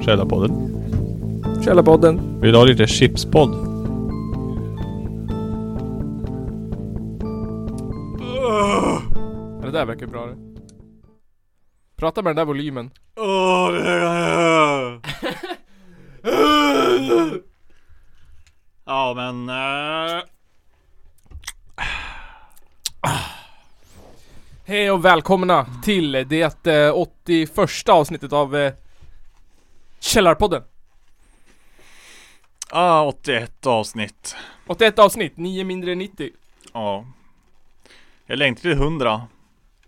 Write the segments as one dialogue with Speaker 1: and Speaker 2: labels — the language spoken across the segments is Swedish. Speaker 1: Källarpodden.
Speaker 2: Källarpodden.
Speaker 1: Vill du ha lite chipspodd?
Speaker 2: Det där verkar bra det. Prata med den där volymen.
Speaker 3: Ja men... eh,
Speaker 2: Hej och välkomna till det eh, 81 avsnittet av eh, Källarpodden.
Speaker 3: ah, 81 avsnitt.
Speaker 2: 81 avsnitt, 9 mindre än 90.
Speaker 3: Ja. Jag längtar till 100.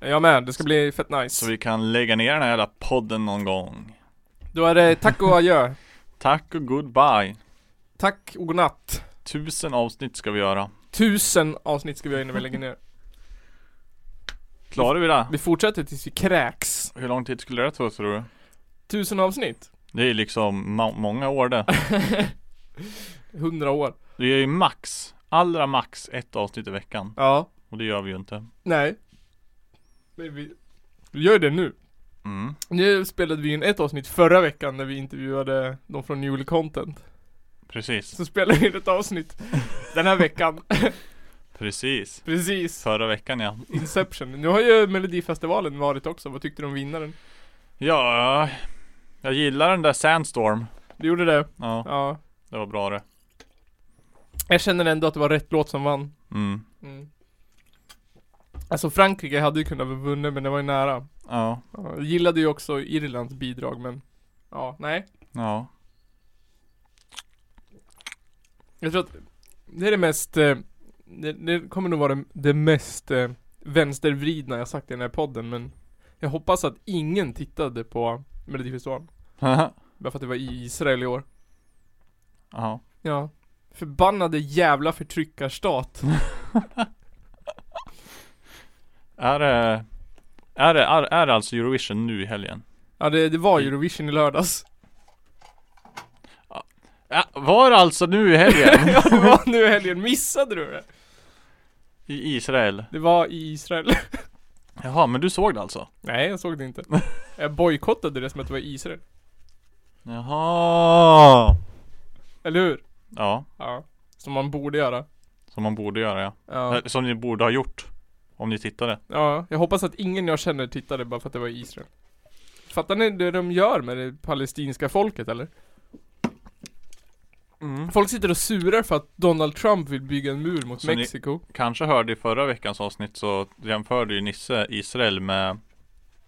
Speaker 2: Jag med, det ska bli fett
Speaker 3: Så
Speaker 2: nice.
Speaker 3: vi kan lägga ner den här jävla podden någon gång.
Speaker 2: Då är det tack och adjö.
Speaker 3: Tack och goodbye.
Speaker 2: Tack och godnatt.
Speaker 3: Tusen avsnitt ska vi göra.
Speaker 2: Tusen avsnitt ska vi göra innan vi lägger ner.
Speaker 3: Klarar vi det?
Speaker 2: Vi fortsätter tills vi kräks.
Speaker 3: Hur lång tid skulle det ta tror du?
Speaker 2: Tusen avsnitt.
Speaker 3: Det är liksom ma- många år det.
Speaker 2: 100 år.
Speaker 3: Det är ju max, allra max ett avsnitt i veckan.
Speaker 2: Ja.
Speaker 3: Och det gör vi ju inte.
Speaker 2: Nej. Men vi, vi gör det nu.
Speaker 3: Mm.
Speaker 2: Nu spelade vi in ett avsnitt förra veckan när vi intervjuade de från Newly Content.
Speaker 3: Precis,
Speaker 2: Så spelade vi in ett avsnitt den här veckan.
Speaker 3: precis.
Speaker 2: Precis.
Speaker 3: Förra veckan ja.
Speaker 2: Inception. Nu har ju Melodifestivalen varit också. Vad tyckte du om vinnaren?
Speaker 3: Ja, jag gillar den där Sandstorm.
Speaker 2: Du gjorde det?
Speaker 3: Ja,
Speaker 2: Ja.
Speaker 3: det var bra det.
Speaker 2: Jag känner ändå att det var rätt låt som vann.
Speaker 3: Mm.
Speaker 2: Mm. Alltså Frankrike hade ju kunnat vinna men det var ju nära.
Speaker 3: Ja,
Speaker 2: Ja, jag gillade ju också Irlands bidrag men Ja, nej.
Speaker 3: ja.
Speaker 2: Jag tror att det är det mest eh, Det, det kommer nog vara det, det mest eh, vänstervridna jag sagt i den här podden men Jag hoppas att ingen tittade på Melodifestivalen Bara för att det var i Israel i år
Speaker 3: ja.
Speaker 2: Ja Förbannade jävla förtryckarstat
Speaker 3: Är det, är det, är, är det alltså Eurovision nu i helgen?
Speaker 2: Ja det, det var Eurovision i lördags
Speaker 3: Ja, var det alltså nu i helgen?
Speaker 2: Ja det var nu i helgen, missade du det?
Speaker 3: I Israel?
Speaker 2: Det var i Israel
Speaker 3: Jaha, men du såg det alltså?
Speaker 2: Nej jag såg det inte Jag bojkottade det som att det var i Israel
Speaker 3: Jaha!
Speaker 2: Eller hur?
Speaker 3: Ja,
Speaker 2: Ja Som man borde göra
Speaker 3: som man borde göra ja.
Speaker 2: Ja
Speaker 3: Eh, Som ni borde ha gjort. Om ni tittade.
Speaker 2: Ja, jag hoppas att ingen jag känner tittade bara för att det var i Israel. Fattar ni det de gör med det palestinska folket eller? Folk sitter och surar för att Donald Trump vill bygga en mur mot
Speaker 3: Så ni-
Speaker 2: Mexiko.
Speaker 3: Kanske hörde i förra veckans avsnitt så jämförde ju Nisse Israel med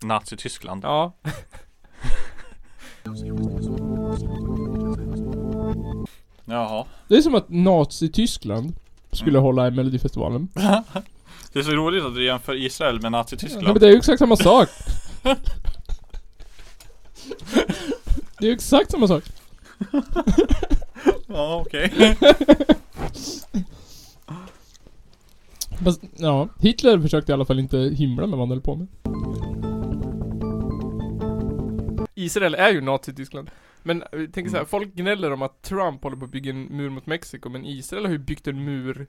Speaker 3: Nazityskland.
Speaker 2: Ja.
Speaker 3: Jaha.
Speaker 2: Det är som att Nazityskland skulle
Speaker 3: Mm.
Speaker 2: hålla i Melodifestivalen.
Speaker 3: Det är så roligt att du jämför Israel med Nazityskland.
Speaker 2: det är ju exakt samma sak. det är ju exakt samma sak.
Speaker 3: Ja, okej.
Speaker 2: Fast, ja, Hitler försökte i alla fall inte himla med vad han höll på med. Israel är ju Nazityskland. Men eh, tänk så här, folk gnäller om att Trump håller på att bygga en mur mot Mexiko, men Israel har ju byggt en mur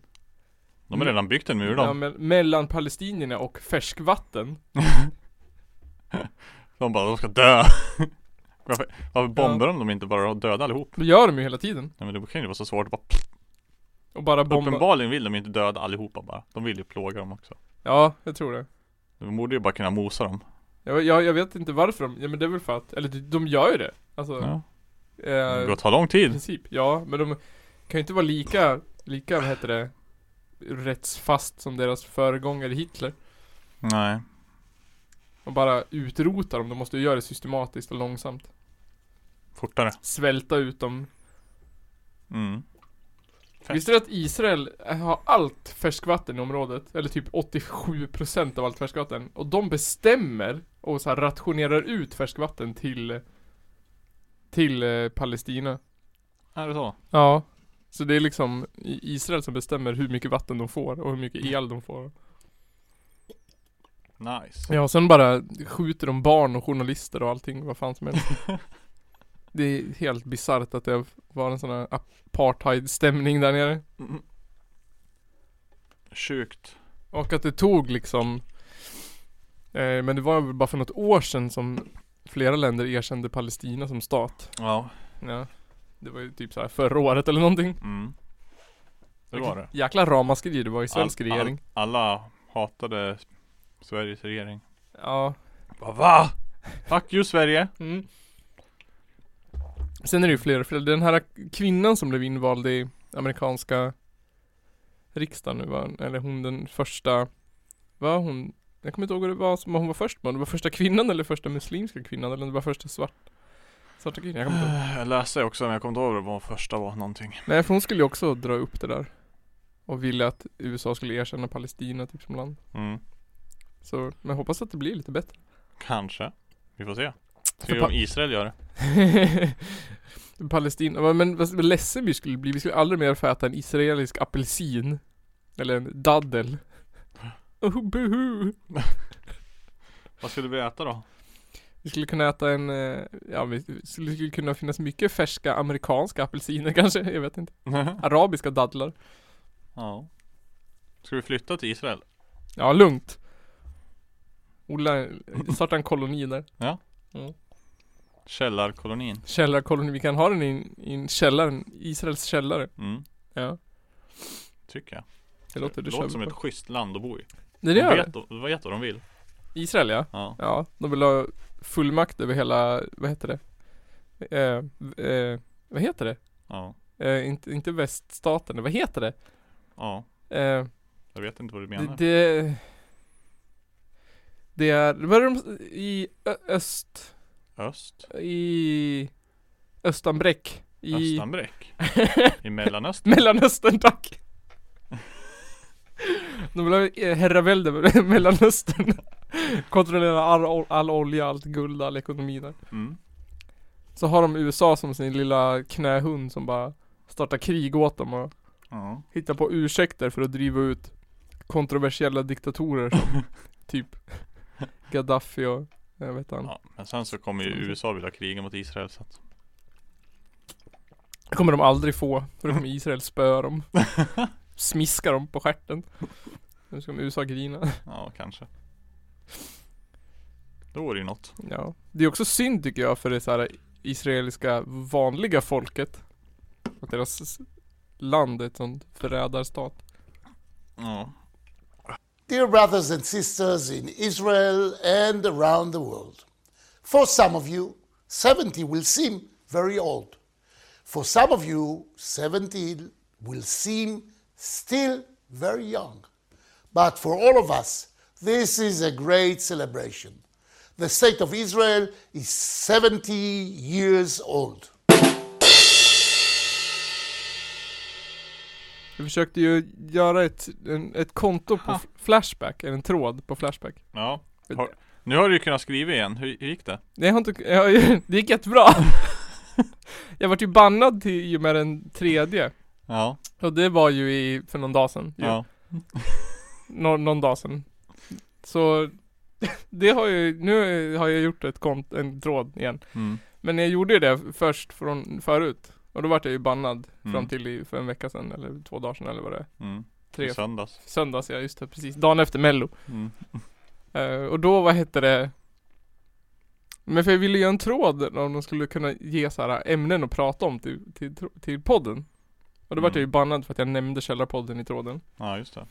Speaker 3: De har redan byggt en mur
Speaker 2: ja,
Speaker 3: de.
Speaker 2: me- mellan palestinierna och färskvatten.
Speaker 3: De bara, de ska dö. Varför, varför bombar de dem inte bara och döda allihop?
Speaker 2: Det gör de ju hela tiden.
Speaker 3: Nej men det kan ju inte vara så svårt att bara
Speaker 2: Och bara bomba.
Speaker 3: Uppenbarligen vill de inte döda allihopa bara. De vill ju plåga dem också.
Speaker 2: Ja, jag tror det.
Speaker 3: De borde ju bara kunna mosa dem.
Speaker 2: Jag, jag, jag vet inte varför de, ja men det är väl för att, eller de- de gör ju det. Alltså,
Speaker 3: Ja. Det
Speaker 2: eh,
Speaker 3: går ta lång
Speaker 2: I
Speaker 3: tid.
Speaker 2: princip, ja. Men de kan ju inte vara lika, lika vad heter det, rättsfast som deras föregångare Hitler.
Speaker 3: Nej.
Speaker 2: Och bara utrota dem. De måste ju göra det systematiskt och långsamt.
Speaker 3: Fortare.
Speaker 2: Svälta ut dem.
Speaker 3: Mm. Fett.
Speaker 2: Visste du att Israel eh, har allt färskvatten i området? Eller typ 87% av allt färskvatten. Och de bestämmer och så här rationerar ut färskvatten till till eh, Palestina.
Speaker 3: Är det så?
Speaker 2: Ja. Så det är liksom i- Israel som bestämmer hur mycket vatten de får och hur mycket el de får.
Speaker 3: Nice. Typ.
Speaker 2: Ja, och sen bara skjuter de barn och journalister och allting, vad fan som helst. det är helt bisarrt att det var en sån här apartheidstämning där nere.
Speaker 3: Mm. Sjukt.
Speaker 2: Och att det tog liksom Eh, men det var väl bara för något år sedan som flera länder erkände Palestina som stat.
Speaker 3: Ja,
Speaker 2: Ja. Det var ju typ så här förra året eller någonting.
Speaker 3: mm. Det var det.
Speaker 2: Jäkla ramaskri det var i svensk
Speaker 3: All- all-
Speaker 2: regering.
Speaker 3: Alla hatade Sveriges regering.
Speaker 2: Ja.
Speaker 3: Bara, va? Fuck you Sverige!
Speaker 2: Mm. Sen är det ju flera, för den här kvinnan som blev invald i amerikanska riksdagen nu va, eller hon den första, var hon, jag kommer inte ihåg vad det var som hon var först med, om det var första kvinnan eller första muslimska kvinnan eller om det var första svart, svarta kvinnan, jag kommer inte ihåg.
Speaker 3: Eh, Jag läste också men jag kommer inte ihåg vad första var någonting.
Speaker 2: Nej för hon skulle ju också dra upp det där. Och ville att USA skulle erkänna Palestina typ som land.
Speaker 3: Mm.
Speaker 2: Så, men jag hoppas att det blir lite bättre.
Speaker 3: Kanske. Vi får se.
Speaker 2: För
Speaker 3: Se
Speaker 2: pa-
Speaker 3: om Israel gör det.
Speaker 2: Palestina, men- men vad vad ledsen vi skulle bli. Vi skulle aldrig mer få äta en israelisk apelsin. Eller en daddel. Oh, buhu.
Speaker 3: Vad skulle vi äta då?
Speaker 2: Vi skulle kunna äta en, eh, ja vi det skulle kunna finnas mycket färska amerikanska apelsiner kanske, jag vet inte. Arabiska dadlar.
Speaker 3: ja. Ska vi flytta till Israel?
Speaker 2: Ja, lugnt. Odla, starta en koloni där.
Speaker 3: Källarkolonin.
Speaker 2: Källarkoloni, vi kan ha den i en- i en källare, Israels källare.
Speaker 3: Mm.
Speaker 2: Ja,
Speaker 3: Tycker jag.
Speaker 2: det låter, det kör
Speaker 3: låter
Speaker 2: vi
Speaker 3: som
Speaker 2: på.
Speaker 3: ett schysst land att bo i.
Speaker 2: Nej det gör
Speaker 3: de
Speaker 2: det.
Speaker 3: vet, de vet vad de vill.
Speaker 2: Israel ja.
Speaker 3: Ja.
Speaker 2: Ja, de vill ha fullmakt över hela, vad heter det? Eh, eh, vad heter det?
Speaker 3: Ja.
Speaker 2: Eh, inte, inte väststaten, vad heter det?
Speaker 3: Ja.
Speaker 2: Eh,
Speaker 3: Jag vet inte vad du
Speaker 2: det,
Speaker 3: menar.
Speaker 2: det, det är, vad är de, i ö, öst,
Speaker 3: Öst?
Speaker 2: i Östanbräck, i
Speaker 3: Östanbräck? I Mellanöstern?
Speaker 2: Mellanöstern tack! De vill ha eh, herravälde över Mellanöstern Kontrollera all, ol- all olja, allt guld, all ekonomi där
Speaker 3: Mm.
Speaker 2: Så har de USA som sin lilla knähund som bara startar krig åt dem och
Speaker 3: Ja.
Speaker 2: hittar på ursäkter för att driva ut kontroversiella diktatorer som typ Gaddafi och jag vet inte.
Speaker 3: ja. Men sen så kommer ju
Speaker 2: Mm.
Speaker 3: USA vilja kriga mot Israel så att
Speaker 2: Det kommer de aldrig få för då kommer Israel spöa dem. Smiska dem på stjärten. Nu ska de USA grina.
Speaker 3: Ja, kanske. Då vore det ju något.
Speaker 2: Ja. Det är också synd tycker jag för det så här israeliska vanliga folket. Att deras s- land är ett sånt förrädarstat.
Speaker 3: Ja.
Speaker 1: Dear brothers and sisters in Israel and around the world, for some of you, 70 will seem very old. For some of you, 70 will seem still very young. But for all of us, this is a great celebration. The state of Israel is 70 years old.
Speaker 2: Vi försökte ju göra ett, en, ett konto på f- Flashback, eller en tråd på Flashback.
Speaker 3: Ja. Har, nu har du ju kunnat skriva igen. Hur hur gick det?
Speaker 2: Nej, jag har inte, jag, det gick jättebra. jag vart ju bannad till, i och med den tredje.
Speaker 3: Ja.
Speaker 2: Och det var ju i, för någon dag sedan. ju.
Speaker 3: Ja.
Speaker 2: Nå, någon dag sedan. Så det har ju, nu har jag gjort ett kont, en tråd igen.
Speaker 3: Mm.
Speaker 2: Men jag gjorde ju det först från förut. Och då vart jag ju bannad
Speaker 3: Mm.
Speaker 2: fram till i, för en vecka sedan eller två dagar sedan eller vad det är.
Speaker 3: Mm.
Speaker 2: Tre,
Speaker 3: I söndags.
Speaker 2: söndags ja, just det, precis. Dagen efter mello.
Speaker 3: Mm.
Speaker 2: Eh, och då, vad hette det? Men för jag ville göra en tråd om de skulle kunna ge så här ämnen att prata om till, till, tr- till podden. Och då vart
Speaker 3: Mm.
Speaker 2: jag ju bannad för att jag nämnde Källarpodden i tråden.
Speaker 3: Ja, just det.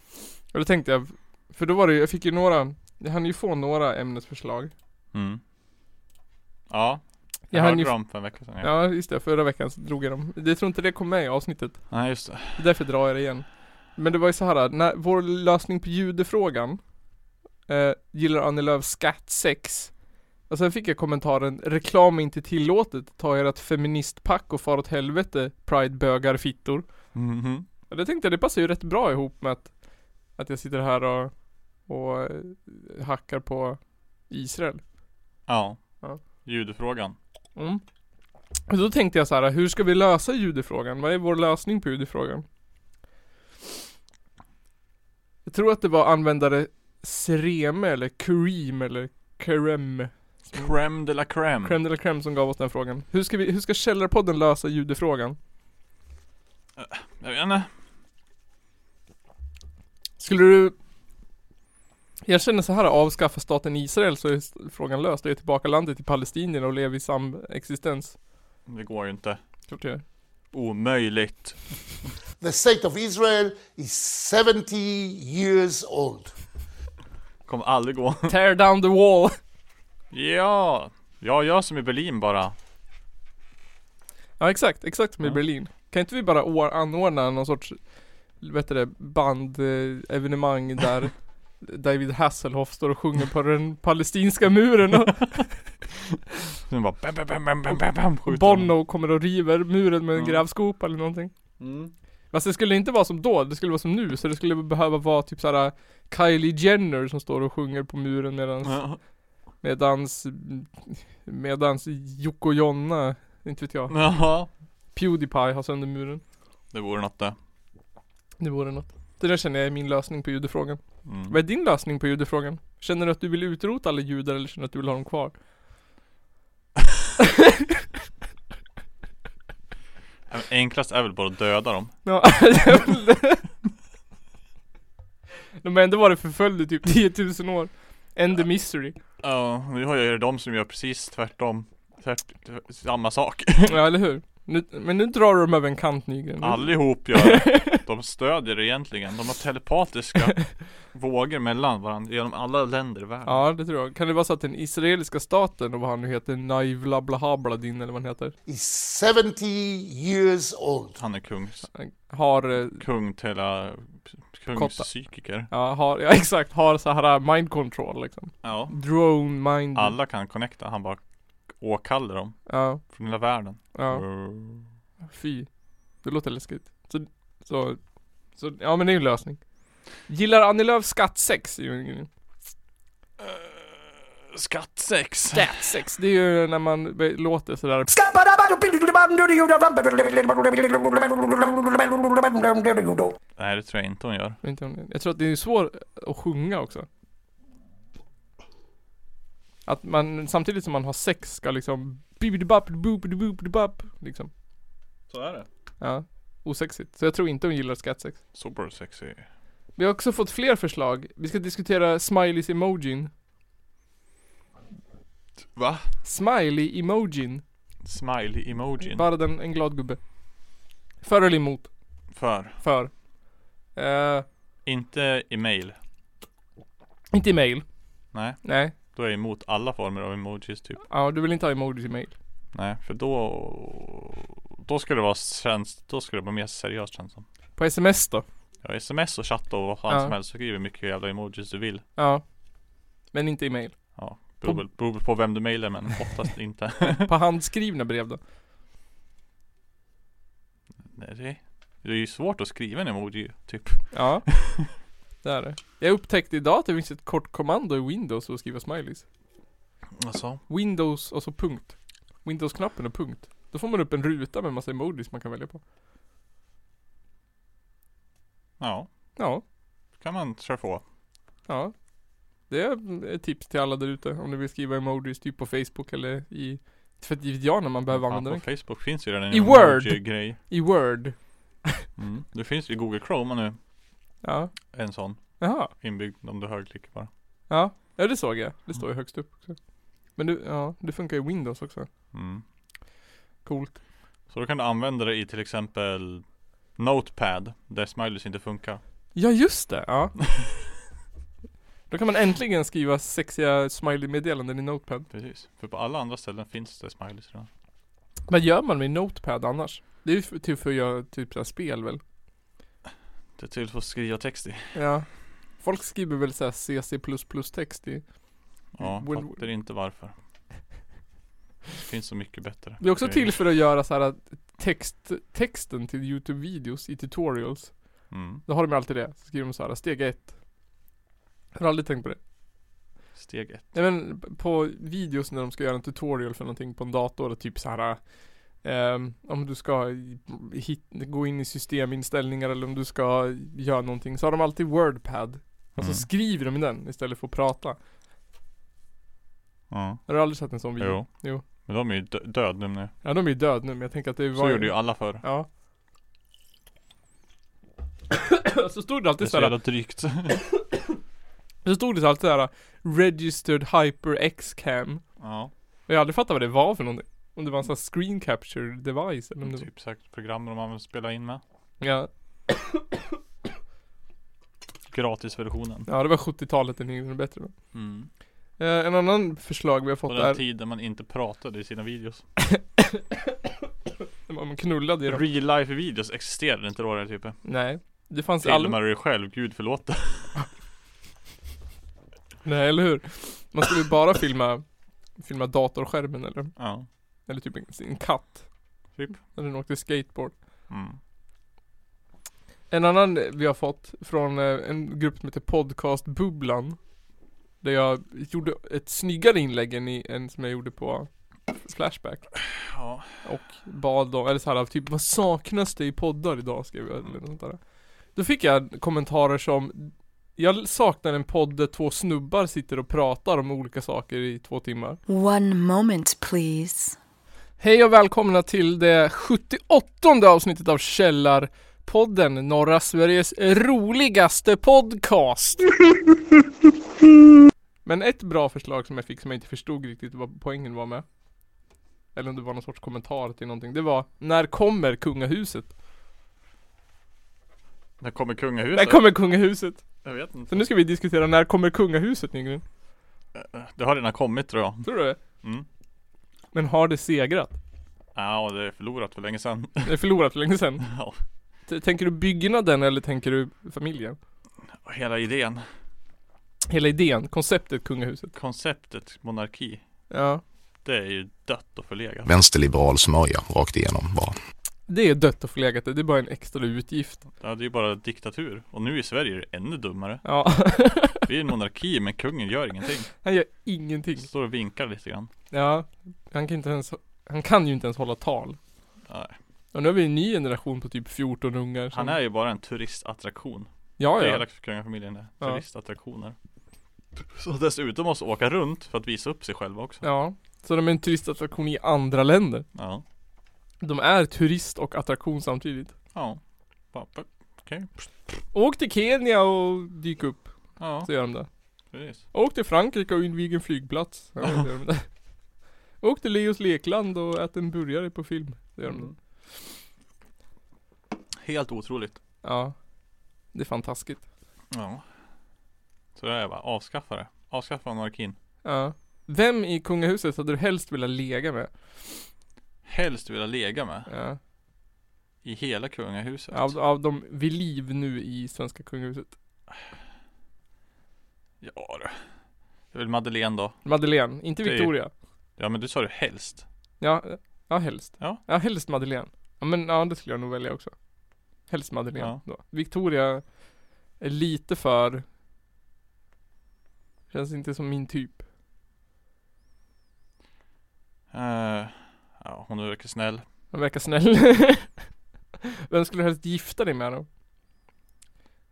Speaker 2: Och då tänkte jag, för då var det ju, jag fick ju några, jag hann ju få några ämnesförslag.
Speaker 3: Mm. Ja.
Speaker 2: Jag
Speaker 3: Jag
Speaker 2: hann
Speaker 3: hörde
Speaker 2: ju-
Speaker 3: dem för en vecka sedan. Ja.
Speaker 2: Ja just det, förra veckan så drog jag dem. Jag tror inte det kom med i avsnittet.
Speaker 3: Nej, just det.
Speaker 2: Det är Därför drar jag det igen. Men det var ju så här, när, vår lösning på judefrågan eh, Gillar Annie Lööf skattsex? Och sen fick alltså jag kommentaren Reklam är inte tillåtet, ta ert feministpack och far åt helvete Pride bögar fittor.
Speaker 3: Mhm.
Speaker 2: Och det tänkte jag, det passar ju rätt bra ihop med att Att jag sitter här och, och eh, hackar på Israel.
Speaker 3: Ja.
Speaker 2: Ja.
Speaker 3: Ljudfrågan.
Speaker 2: Mm. Och då tänkte jag så här, hur ska vi lösa judefrågan? Vad är vår lösning på judefrågan? Jag tror att det var användare Sereme eller Kareem eller Kerem
Speaker 3: Crème de la crème.
Speaker 2: Krem eller Krem som gav oss den frågan. Hur ska, vi, hur ska Källarpodden lösa judefrågan?
Speaker 3: Jag vet inte.
Speaker 2: Skulle du Jag känner så här, avskaffa staten Israel så är s- frågan löst. Det är tillbaka landet till palestinierna och lever i samexistens.
Speaker 3: Det går ju inte.
Speaker 2: Klart det gör.
Speaker 3: Omöjligt.
Speaker 1: The state of Israel is 70 years old.
Speaker 3: Kommer aldrig gå.
Speaker 2: Tear down the wall!
Speaker 3: ja! Jag gör som i Berlin bara.
Speaker 2: Ja exakt, exakt som i
Speaker 3: Ja.
Speaker 2: Berlin. Kan inte vi bara å- anordna någon sorts, vad heter det, bandevenemang där David Hasselhoff står och sjunger på den palestinska muren och
Speaker 3: Sen bara bam, bam, bam, bam, bam, bam, bam, skjuter honom.
Speaker 2: Bono kommer och river muren med en
Speaker 3: Ja.
Speaker 2: grävskopa eller någonting.
Speaker 3: Mm.
Speaker 2: Fast det skulle inte vara som då, det skulle vara som nu, så det skulle behöva vara typ såhär Kylie Jenner som står och sjunger på muren medans,
Speaker 3: Ja.
Speaker 2: medans, medans Jocke och Jonna, inte vet jag,
Speaker 3: Jaha.
Speaker 2: Pewdiepie har sönder muren.
Speaker 3: Det vore något det.
Speaker 2: Det vore något. Det där känner jag är min lösning på judefrågan.
Speaker 3: Mm.
Speaker 2: Vad är din lösning på judefrågan? Känner du att du vill utrota alla judar eller känner du att du vill ha dem kvar?
Speaker 3: Enklast är väl bara att döda dem.
Speaker 2: Ja, De har ändå varit förföljda i typ 10 000 år. End the mystery.
Speaker 3: Ja, nu har jag ju de som gör precis tvärtom. Tvärt, tvärt- samma sak.
Speaker 2: Ja, eller hur? Nu, men nu drar du dem över en kant Nygren. Nu-
Speaker 3: Allihop gör det. De stödjer det egentligen. De har telepatiska vågor mellan varandra genom alla länder i världen.
Speaker 2: Ja, det tror jag. Kan det vara så att den israeliska staten och vad han nu heter, Naivla Blahabladin eller vad han heter,
Speaker 1: Is 70 years old.
Speaker 3: Han är kung,
Speaker 2: har eh,
Speaker 3: kung till hela, kungspsykiker.
Speaker 2: Ja, har, ja exakt, har så här mind control liksom.
Speaker 3: Ja.
Speaker 2: Drone mind.
Speaker 3: Alla kan connecta. Han bara åkallar dem
Speaker 2: Ja,
Speaker 3: från hela världen.
Speaker 2: ja. Fy. Det låter läskigt. Så, så, så ja men det är ju en lösning. Gillar Annie Lööf skattsex? är ju en grej.
Speaker 3: Skattsex.
Speaker 2: Skattsex, det är ju när man be- låter sådär
Speaker 3: Nej det tror jag inte hon gör.
Speaker 2: Jag vet inte om det- Jag tror att det är svårt att sjunga också. Att man samtidigt som man har sex ska liksom bibidibap, boopidibopidibap, liksom.
Speaker 3: Så är det.
Speaker 2: Ja. Osexigt. Så jag tror inte hon gillar skattsex.
Speaker 3: Super sexy.
Speaker 2: Vi har också fått fler förslag. Vi ska diskutera smileys-emojin.
Speaker 3: Va?
Speaker 2: Smiley-emojin.
Speaker 3: Smiley-emojin.
Speaker 2: Bara den, en glad gubbe. För eller emot?
Speaker 3: För.
Speaker 2: För. Eh,
Speaker 3: Inte i mail.
Speaker 2: inte i mail.
Speaker 3: Nej.
Speaker 2: Nej.
Speaker 3: Då är jag emot alla former av emojis typ.
Speaker 2: Ja, du vill inte ha emojis i mail.
Speaker 3: Nej, för då... Då ska det vara tjänst, då ska det vara mer seriöst känns det som.
Speaker 2: På sms då?
Speaker 3: Ja, sms och chatt och vad fan
Speaker 2: Ja.
Speaker 3: som helst, skriv hur mycket jävla emojis du vill.
Speaker 2: Ja. Men inte i mail.
Speaker 3: Ja, beror väl- beror väl på vem du mailar men oftast inte.
Speaker 2: På handskrivna brev då?
Speaker 3: Nej, det, det är ju svårt att skriva en emoji typ.
Speaker 2: Ja. Det är det. Jag upptäckte idag att det finns ett kort kommando i Windows för att skriva smileys.
Speaker 3: Alltså.
Speaker 2: Windows och så punkt. Windows-knappen och punkt. Då får man upp en ruta med massa emojis man kan välja på.
Speaker 3: Ja,
Speaker 2: Ja.
Speaker 3: kan man köra på.
Speaker 2: Ja. Det är ett tips till alla där ute om ni vill skriva emojis typ på Facebook eller i för att vet jag när man behöver
Speaker 3: Fan,
Speaker 2: använda
Speaker 3: på
Speaker 2: den.
Speaker 3: Facebook finns ju redan
Speaker 2: I
Speaker 3: en
Speaker 2: Word.
Speaker 3: emoji-grej.
Speaker 2: I Word.
Speaker 3: Mm. Det finns ju i Google Chrome nu.
Speaker 2: Ja.
Speaker 3: En sån
Speaker 2: Jaha.
Speaker 3: inbyggd om du högerklickar bara.
Speaker 2: Ja. Ja det såg jag. Det står ju högst upp också. Men du, ja, det funkar i Windows också.
Speaker 3: Mm.
Speaker 2: Coolt.
Speaker 3: Så då kan du använda det i till exempel Notepad, där smileys inte funkar.
Speaker 2: Ja just det, ja. Då kan man äntligen skriva sexiga smiley-meddelanden i Notepad.
Speaker 3: Precis. För på alla andra ställen finns det smileys redan.
Speaker 2: Vad gör man med Notepad annars? Det är ju för- till för att göra typ så här spel väl?
Speaker 3: Det är till för att skriva text i.
Speaker 2: Ja. Folk skriver väl såhär CC++-text i
Speaker 3: Ja,
Speaker 2: Well-
Speaker 3: fattar inte varför. Det finns så mycket bättre.
Speaker 2: Det är också
Speaker 3: grejer.
Speaker 2: till för att göra så här att text, texten till Youtube-videos i tutorials.
Speaker 3: Mm.
Speaker 2: Då har de alltid det. Så skriver de så här, steg ett. Jag har aldrig tänkt på det.
Speaker 3: Steg ett.
Speaker 2: Nej men på videos när de ska göra en tutorial för någonting på en dator, typ så här. ehm, om du ska hit, gå in i systeminställningar eller om du ska göra någonting så har de alltid wordpad. Och så
Speaker 3: Mm.
Speaker 2: skriver de i den istället för att prata.
Speaker 3: Ja.
Speaker 2: Har du aldrig sett en sån video?
Speaker 3: Jo.
Speaker 2: Jo.
Speaker 3: Men de är ju dö- död nu. nu.
Speaker 2: Ja de är ju död nu men jag tänker att det var
Speaker 3: Så gjorde ju alla förr.
Speaker 2: Ja. så stod det
Speaker 3: Det är
Speaker 2: alltid
Speaker 3: så
Speaker 2: såhär
Speaker 3: jävla drygt.
Speaker 2: Så stod det så alltid där Registered HyperX Cam.
Speaker 3: Ja,
Speaker 2: Och jag har aldrig fattat vad det var för någonting. Om det var en sån här screen capture device eller om det var...
Speaker 3: typ säkert program de använder att spela in med.
Speaker 2: Ja.
Speaker 3: Gratisversionen.
Speaker 2: ja, det var 70-talet den gjorde det bättre då.
Speaker 3: Mm.
Speaker 2: Eh, en annan förslag vi har
Speaker 3: På
Speaker 2: fått
Speaker 3: den
Speaker 2: är
Speaker 3: tiden man inte pratade i sina videos.
Speaker 2: när man knullade i dem.
Speaker 3: Real life videos existerade inte då typ. den här typen.
Speaker 2: Nej. Det fanns aldrig
Speaker 3: Filmar du dig själv, gud förlåt det.
Speaker 2: Nej, eller hur? Man skulle ju bara filma, filma datorskärmen eller,
Speaker 3: Ja.
Speaker 2: eller typ en, en katt.
Speaker 3: Typ.
Speaker 2: När den åkte skateboard.
Speaker 3: Mm.
Speaker 2: En annan vi har fått från eh, en grupp som heter Podcastbubblan. Där jag gjorde ett snyggare inlägg än, i, än som jag gjorde på Flashback.
Speaker 3: Ja.
Speaker 2: Och bad dem, eller så här, typ vad saknas det i poddar idag? Skrev jag eller något sånt där. Då fick jag kommentarer som jag saknar en podd där två snubbar sitter och pratar om olika saker i två timmar.
Speaker 4: One moment, please.
Speaker 2: Hej och välkomna till det 78 avsnittet av Källarpodden, norra Sveriges roligaste podcast. Men ett bra förslag som jag fick som jag inte förstod riktigt vad poängen var med. Eller om det var någon sorts kommentar till någonting. Det var När kommer kungahuset?
Speaker 3: Där kommer kungahuset.
Speaker 2: När kommer kungahuset?
Speaker 3: Jag vet
Speaker 2: Så
Speaker 3: inte.
Speaker 2: nu ska vi diskutera när kommer kungahuset Nygren?
Speaker 3: Det har redan kommit tror jag.
Speaker 2: Tror du det?
Speaker 3: Mm.
Speaker 2: Men har det segrat?
Speaker 3: Ja, det är förlorat för länge sedan.
Speaker 2: Det är förlorat för länge sedan.
Speaker 3: Ja.
Speaker 2: T- tänker du byggnaden eller tänker du familjen?
Speaker 3: Hela idén.
Speaker 2: Hela idén, konceptet kungahuset.
Speaker 3: Konceptet monarki.
Speaker 2: Ja.
Speaker 3: Det är ju dött och förlegat.
Speaker 5: Vänsterliberal smörja rakt igenom bara.
Speaker 2: Det är dött och förlegat, det är bara en extra utgift.
Speaker 3: Ja, det är ju bara diktatur. Och nu i Sverige är det ännu dummare.
Speaker 2: Ja,
Speaker 3: Vi är en monarki men kungen gör ingenting.
Speaker 2: han gör ingenting.
Speaker 3: Står och vinkar lite grann.
Speaker 2: Ja, han kan, inte ens, han kan ju inte ens hålla tal.
Speaker 3: Nej.
Speaker 2: Och nu har vi en ny generation på typ 14 ungar. som-
Speaker 3: Han är ju bara en turistattraktion.
Speaker 2: ja,
Speaker 3: Det är
Speaker 2: ja.
Speaker 3: hela kungafamiljen är.
Speaker 2: Ja.
Speaker 3: Turistattraktioner. Så dessutom måste åka runt för att visa upp sig själva också.
Speaker 2: ja. Så de är en turistattraktion i andra länder.
Speaker 3: Ja.
Speaker 2: De är turist och attraktion samtidigt.
Speaker 3: Ja. Bara, puck. Okej.
Speaker 2: Åk till Kenya och dyk upp,
Speaker 3: Ja,
Speaker 2: så gör de det.
Speaker 3: precis.
Speaker 2: Åk till Frankrike och invig en flygplats. Ja, det gör de där. Åk till Leos lekland och ät en burgare på film. Det gör de
Speaker 3: Mm.
Speaker 2: där.
Speaker 3: Helt otroligt.
Speaker 2: Ja. Det är fantastiskt.
Speaker 3: Ja. Så det är bara avskaffa det. Avskaffa monarkin.
Speaker 2: Ja. Vem i kungahuset hade du helst velat lega med?
Speaker 3: Helst vilja lega med.
Speaker 2: Ja.
Speaker 3: I hela kungahuset.
Speaker 2: Av, av de vid liv nu i svenska kungahuset.
Speaker 3: Ja du. Det är väl Madeleine då.
Speaker 2: Madeleine, inte
Speaker 3: Det är-
Speaker 2: Victoria.
Speaker 3: Ja men du sa du helst.
Speaker 2: Ja, ja helst.
Speaker 3: Ja.
Speaker 2: ja, helst Madeleine. Ja men ja, det skulle jag nog välja också. Helst Madeleine
Speaker 3: Ja.
Speaker 2: då. Victoria är lite för Känns inte som min typ.
Speaker 3: Eh, ja, hon verkar snäll.
Speaker 2: Hon verkar snäll. Vem skulle du helst gifta dig med då?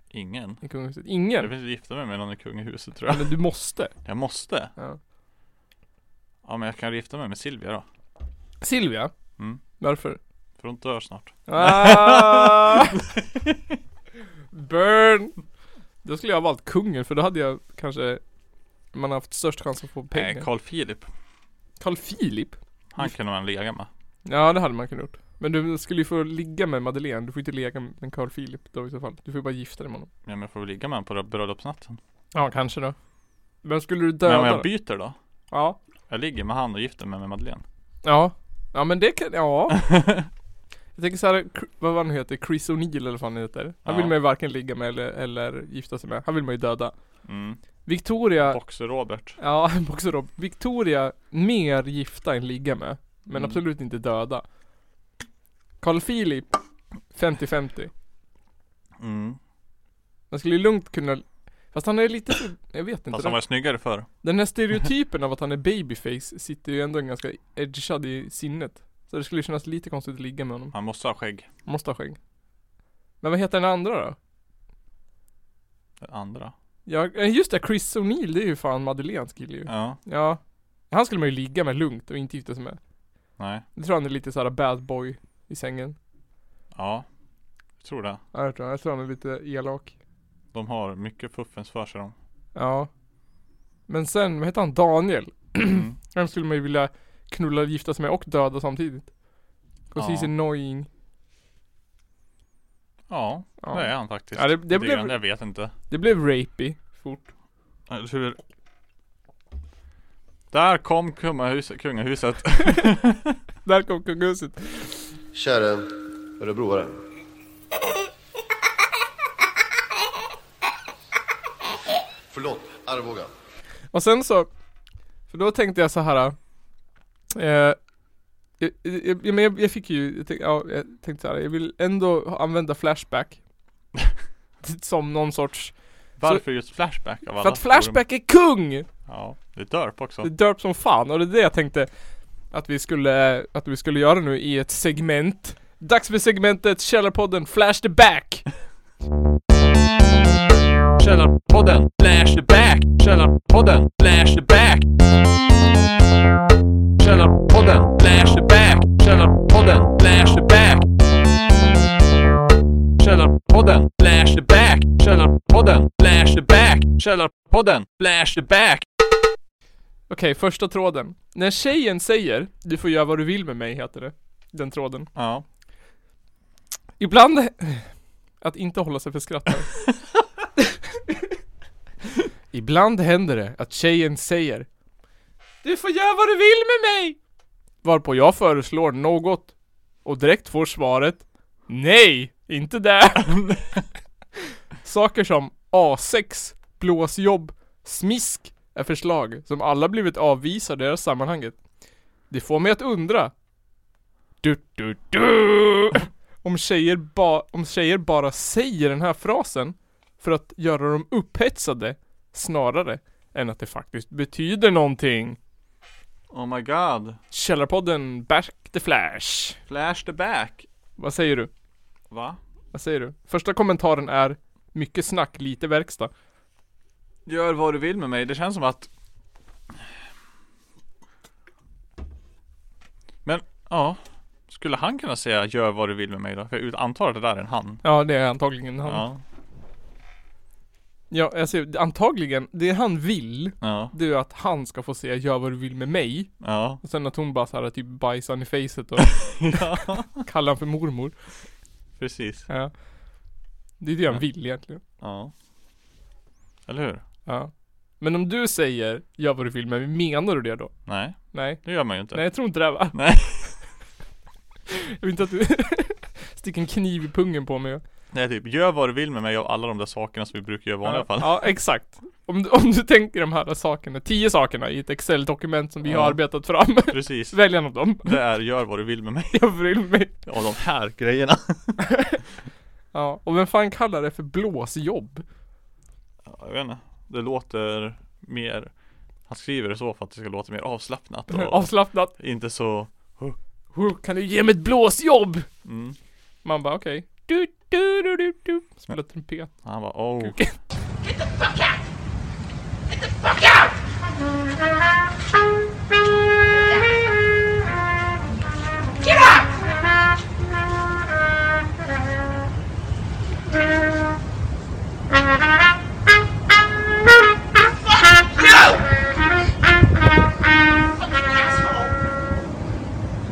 Speaker 3: Ingen.
Speaker 2: I kungahuset?
Speaker 3: Jag
Speaker 2: Ingen?
Speaker 3: vill inte gifta mig med någon i kungahuset tror jag.
Speaker 2: Men du måste.
Speaker 3: Jag måste.
Speaker 2: Ja.
Speaker 3: Ja men jag kan gifta mig med Silvia då.
Speaker 2: Silvia?
Speaker 3: Mm.
Speaker 2: Varför?
Speaker 3: För hon dör snart.
Speaker 2: Ah! Burn! Då skulle jag ha valt kungen för då hade jag kanske Man har haft störst chans att få pengar
Speaker 3: Nej, Eh, Carl Philip.
Speaker 2: Carl Philip?
Speaker 3: Han kunde man lega med.
Speaker 2: Ja det hade man kunnat gjort Men du skulle ju få ligga med Madeleine, du får inte ligga med Carl Philip då i så fall Du får ju bara gifta dig med honom
Speaker 3: Ja, men jag får väl ligga med honom på bröllopsnatten.
Speaker 2: Ja kanske då Men skulle du
Speaker 3: Men
Speaker 2: döda
Speaker 3: om jag
Speaker 2: då?
Speaker 3: byter då?
Speaker 2: Ja
Speaker 3: Jag ligger med han och gifter mig med Madeleine.
Speaker 2: Ja Ja men det kan, ja Jag tänker såhär, vad han heter, Chris O'Neill eller vad han heter Han
Speaker 3: Ja.
Speaker 2: vill man ju varken ligga med eller, eller gifta sig med Han vill man ju döda
Speaker 3: Mm.
Speaker 2: Victoria
Speaker 3: Boxer Robert.
Speaker 2: Ja, Boxer Rob. Victoria, mer gifta än ligga med. Men
Speaker 3: Mm.
Speaker 2: absolut inte döda. Carl Philip, 50-50.
Speaker 3: Mm.
Speaker 2: Man skulle ju lugnt kunna... Fast han är lite... Jag vet inte.
Speaker 3: Fast han var snyggare förr.
Speaker 2: Den här stereotypen av att han är babyface sitter ju ändå ganska edgad i sinnet. Så det skulle kännas lite konstigt att ligga med honom.
Speaker 3: Han måste ha skägg.
Speaker 2: Måste ha skägg. Men vad heter den andra då?
Speaker 3: Den andra.
Speaker 2: Ja, eh, just det, Chris O'Neill, det är ju fan Madeleines kille ju.
Speaker 3: Ja.
Speaker 2: Ja. Han skulle man ju ligga med lugnt och inte gifta sig med.
Speaker 3: Nej.
Speaker 2: Jag tror han är lite såhär bad boy i sängen.
Speaker 3: Ja. Jag tror det.
Speaker 2: Ja, jag tror, jag tror han är lite elak.
Speaker 3: De har mycket fuffens för sig de.
Speaker 2: Ja. Men sen, vad heter han? Daniel.
Speaker 3: Mm.
Speaker 2: Vem skulle man ju vilja knulla, gifta sig med och döda samtidigt? 'Cause
Speaker 3: Ja.
Speaker 2: he's annoying.
Speaker 3: Ja,
Speaker 2: Ja.
Speaker 3: det är han faktiskt.
Speaker 2: Ja, det-
Speaker 3: det,
Speaker 2: det blev-
Speaker 3: är han, jag vet inte.
Speaker 2: Det blev rapey fort.
Speaker 3: Eller Hur... Där kom kungahuset. kungahuset.
Speaker 2: Där kom kungahuset.
Speaker 6: Kära örebroare. Förlåt, Arboga.
Speaker 2: Och sen så, för då tänkte jag så här. Eh, jag, jag, jag, men jag, jag fick ju, jag tänkte, ja, jag tänkte så här, jag vill ändå ha- använda Flashback. Som någon sorts,
Speaker 3: Varför just Flashback av alla
Speaker 2: för att Flashback är kung!
Speaker 3: forum? Ja, det är Derp också.
Speaker 2: Det är derp som fan och det är det jag tänkte att vi skulle, att vi skulle göra nu i ett segment. Dags för segmentet Källarpodden Flash the Back!
Speaker 3: Källarpodden Flashback! Källarpodden Flashback! Källarpodden Flashback! Källarpodden Flashback! Källarpodden Flashback! Källarpodden Flashback! Källarpodden Flashback!
Speaker 2: Okej, första tråden. När tjejen säger 'Du får göra vad du vill med mig' heter det. Den tråden.
Speaker 3: Ja.
Speaker 2: Ibland... Att inte hålla sig för skratt här. Ibland händer det att tjejen säger Du får göra vad du vill med mig! Varpå jag föreslår något och direkt får svaret Nej, inte där! Saker som A6, blåsjobb, smisk är förslag som alla blivit avvisade i det här sammanhanget. Det får mig att undra du, du, du. Om tjejer, ba- om tjejer bara säger den här frasen för att göra dem upphetsade snarare än att det faktiskt betyder någonting.
Speaker 3: Oh my god.
Speaker 2: Källarpodden Back the Flash.
Speaker 3: Flashback.
Speaker 2: Vad säger du?
Speaker 3: Va?
Speaker 2: Vad säger du? Första kommentaren är mycket snack, lite verkstad.
Speaker 3: Gör vad du vill med mig. Det känns som att... Men, ja. Skulle han kunna säga 'Gör vad du vill med mig' då? För jag antar att det där är en han.
Speaker 2: Ja, det är antagligen han. Ja,
Speaker 3: Ja.
Speaker 2: jag ser, antagligen, det han vill,
Speaker 3: Ja.
Speaker 2: det är att han ska få säga gör vad du vill med mig.
Speaker 3: Ja.
Speaker 2: Och sen att hon bara såhär typ bajsar han i facet och
Speaker 3: ja.
Speaker 2: kallar han för mormor.
Speaker 3: Precis.
Speaker 2: Ja. Det är det han vill egentligen.
Speaker 3: Ja. Eller hur?
Speaker 2: Ja. Men om du säger 'gör vad du vill' men menar du det då?
Speaker 3: Nej,
Speaker 2: Nej?
Speaker 3: det gör man ju inte.
Speaker 2: Nej jag tror inte det va?
Speaker 3: Nej.
Speaker 2: Jag vill inte att du sticker en kniv i pungen på mig.
Speaker 3: Nej, typ 'Gör vad du vill med mig' av alla de där sakerna som vi brukar göra i vanliga
Speaker 2: ja,
Speaker 3: fall.
Speaker 2: ja exakt. Om du, om du tänker de här sakerna, tio sakerna i ett Excel-dokument som vi
Speaker 3: Ja.
Speaker 2: har arbetat fram.
Speaker 3: Precis.
Speaker 2: Välj en av dem.
Speaker 3: Det är 'Gör vad du vill med mig'
Speaker 2: Jag vill mig.
Speaker 3: av de här grejerna.
Speaker 2: Ja, och vem fan kallar det för blåsjobb?
Speaker 3: Ja, jag vet inte. Det låter mer... Han skriver det så för att det ska låta mer avslappnat och
Speaker 2: Avslappnat.
Speaker 3: inte så...
Speaker 2: Huh, Kan du ge mig ett blåsjobb?
Speaker 3: Mm.
Speaker 2: Man bara okej. Du, du, du, du, du. Spela trumpet.
Speaker 3: Han bara oh.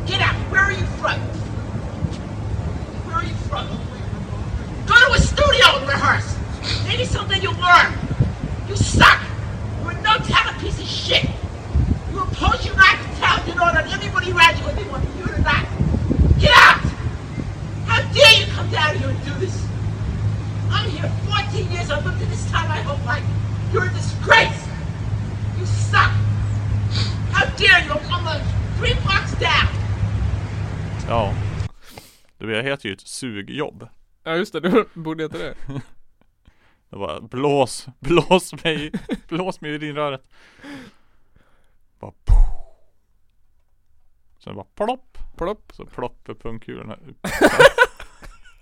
Speaker 7: Get out! Where are you from? Where are you from? Go to a studio and rehearse. Maybe something you'll learn. You suck. You're a no talent piece of shit. You're a post you not talent. You know that everybody around you, whether they want you or not. Get out! How dare you come down here and do this? I'm here 14 years. I've lived in this town my whole life. You're a disgrace. You suck. How dare you? I'm uh, three blocks down.
Speaker 3: Ja. Det heter ju ett sugjobb.
Speaker 2: Ja just det, det borde heta det.
Speaker 3: Det bara blås, blås mig, blås mig i urinröret. Bara poof. Sen bara plopp.
Speaker 2: Plopp.
Speaker 3: Så ploppar pungkulorna upp.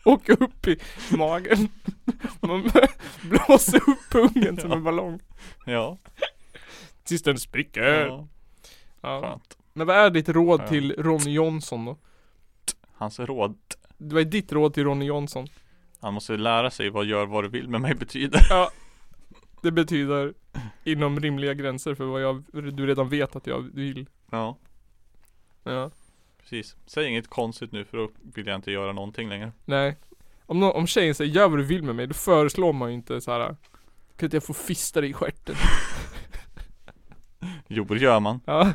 Speaker 2: Åka upp i magen. Man blåser upp pungen som en ballong.
Speaker 3: Ja.
Speaker 2: Tills den spricker.
Speaker 3: ja.
Speaker 2: Ja.
Speaker 3: Skönt.
Speaker 2: Men vad är ditt råd
Speaker 3: Ja.
Speaker 2: till Ronny Jonsson då?
Speaker 3: Hans råd.
Speaker 2: Vad är ditt råd till Ronny Jonsson?
Speaker 3: Han måste lära sig vad gör vad du vill med mig betyder.
Speaker 2: Ja. Det betyder inom rimliga gränser för vad jag, du redan vet att jag vill.
Speaker 3: Ja,
Speaker 2: Ja.
Speaker 3: precis. Säg inget konstigt nu för då vill jag inte göra någonting längre.
Speaker 2: Nej. Om, nå- om tjejen säger 'gör vad du vill med mig' då föreslår man ju inte så här. Kan inte jag få fista dig i stjärten?
Speaker 3: Jo, det gör man.
Speaker 2: Ja,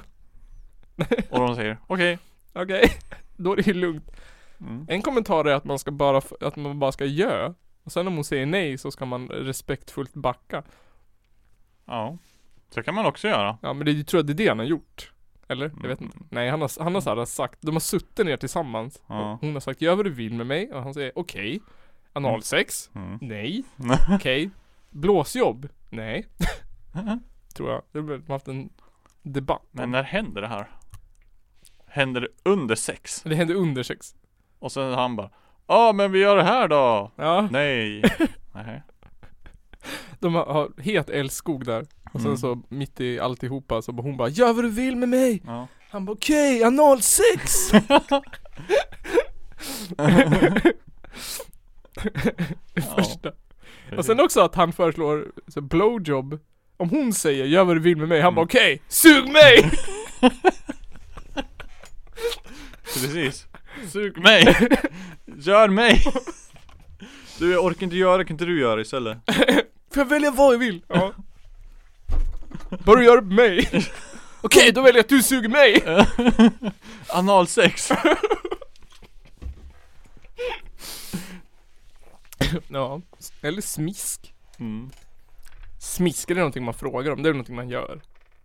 Speaker 3: Och de säger okej.
Speaker 2: okej. Då är det ju lugnt.
Speaker 3: Mm.
Speaker 2: En kommentar är att man ska bara, f- att man bara ska gö. Och sen om hon säger nej så ska man respektfullt backa.
Speaker 3: Ja. Så kan man också göra.
Speaker 2: Ja men det jag tror jag det är det han har gjort. Eller? Jag vet
Speaker 3: Mm.
Speaker 2: inte. Nej han har, han har så här sagt, de har suttit ner tillsammans.
Speaker 3: Ja.
Speaker 2: Hon har sagt gör vad du vill med mig och han säger okej. Analsex?
Speaker 3: Mm.
Speaker 2: Nej. Okej. Blåsjobb? Nej. tror jag. Det blir- De har haft en debatt.
Speaker 3: Mm. Men när händer det här? Händer det under sex?
Speaker 2: Det hände under sex.
Speaker 3: Och sen han bara Ja men vi gör det här då!
Speaker 2: Ja.
Speaker 3: Nej! Nej.
Speaker 2: De har, har het älskog där. Och
Speaker 3: Mm.
Speaker 2: sen så mitt i alltihopa så bara hon bara 'Gör vad du vill med mig'
Speaker 3: Ja.
Speaker 2: Han bara 'Okej, analsex' Det första. Och sen också att han föreslår så blowjob Om hon säger 'Gör vad du vill med mig'
Speaker 3: Mm.
Speaker 2: han bara 'Okej, sug mig!
Speaker 3: Precis. Sug mig! Gör mig! Du jag orkar inte göra, kan inte du göra istället?
Speaker 2: Får jag välja vad jag vill? Ja Bara du gör det på mig Okej, då väljer jag att du suger mig!
Speaker 3: Analsex!
Speaker 2: Ja, eller smisk
Speaker 3: Mm.
Speaker 2: Smisk, är det någonting man frågar om? Det är någonting man gör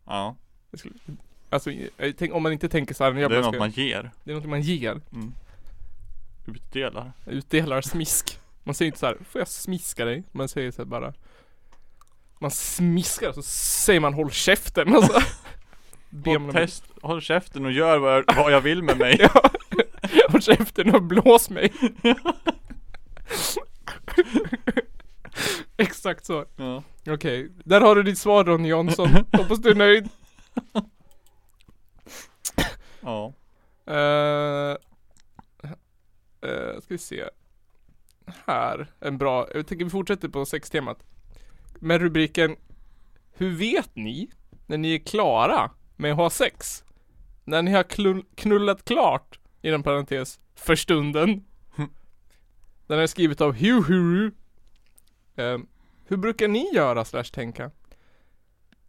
Speaker 3: Ja,
Speaker 2: Jag skulle, alltså, jag, tänk, om man inte tänker såhär när jag
Speaker 3: det är
Speaker 2: bara ska-
Speaker 3: något man ger.
Speaker 2: det är något man ger
Speaker 3: Utdelar.
Speaker 2: Utdelar smisk Man säger inte så här, får jag smiska dig? Man säger så här bara Man smiskar så säger man håll käften och så ber man
Speaker 3: Och
Speaker 2: om-
Speaker 3: test, håll käften och gör vad jag, vad jag vill med mig.
Speaker 2: Håll käften och blås mig Exakt så
Speaker 3: Ja.
Speaker 2: Okej, där har du ditt svar Ronny Jansson Hoppas du är nöjd
Speaker 3: ja.
Speaker 2: Uh, eh, ska vi se. Här, en bra. Jag tänker vi fortsätter på sextemat. Med rubriken Hur vet ni när ni är klara med att ha sex? När ni har klull- knullat klart, inom parentes, för stunden. Den är skrivet av Huhuru. Uh, hur brukar ni göra slash tänka?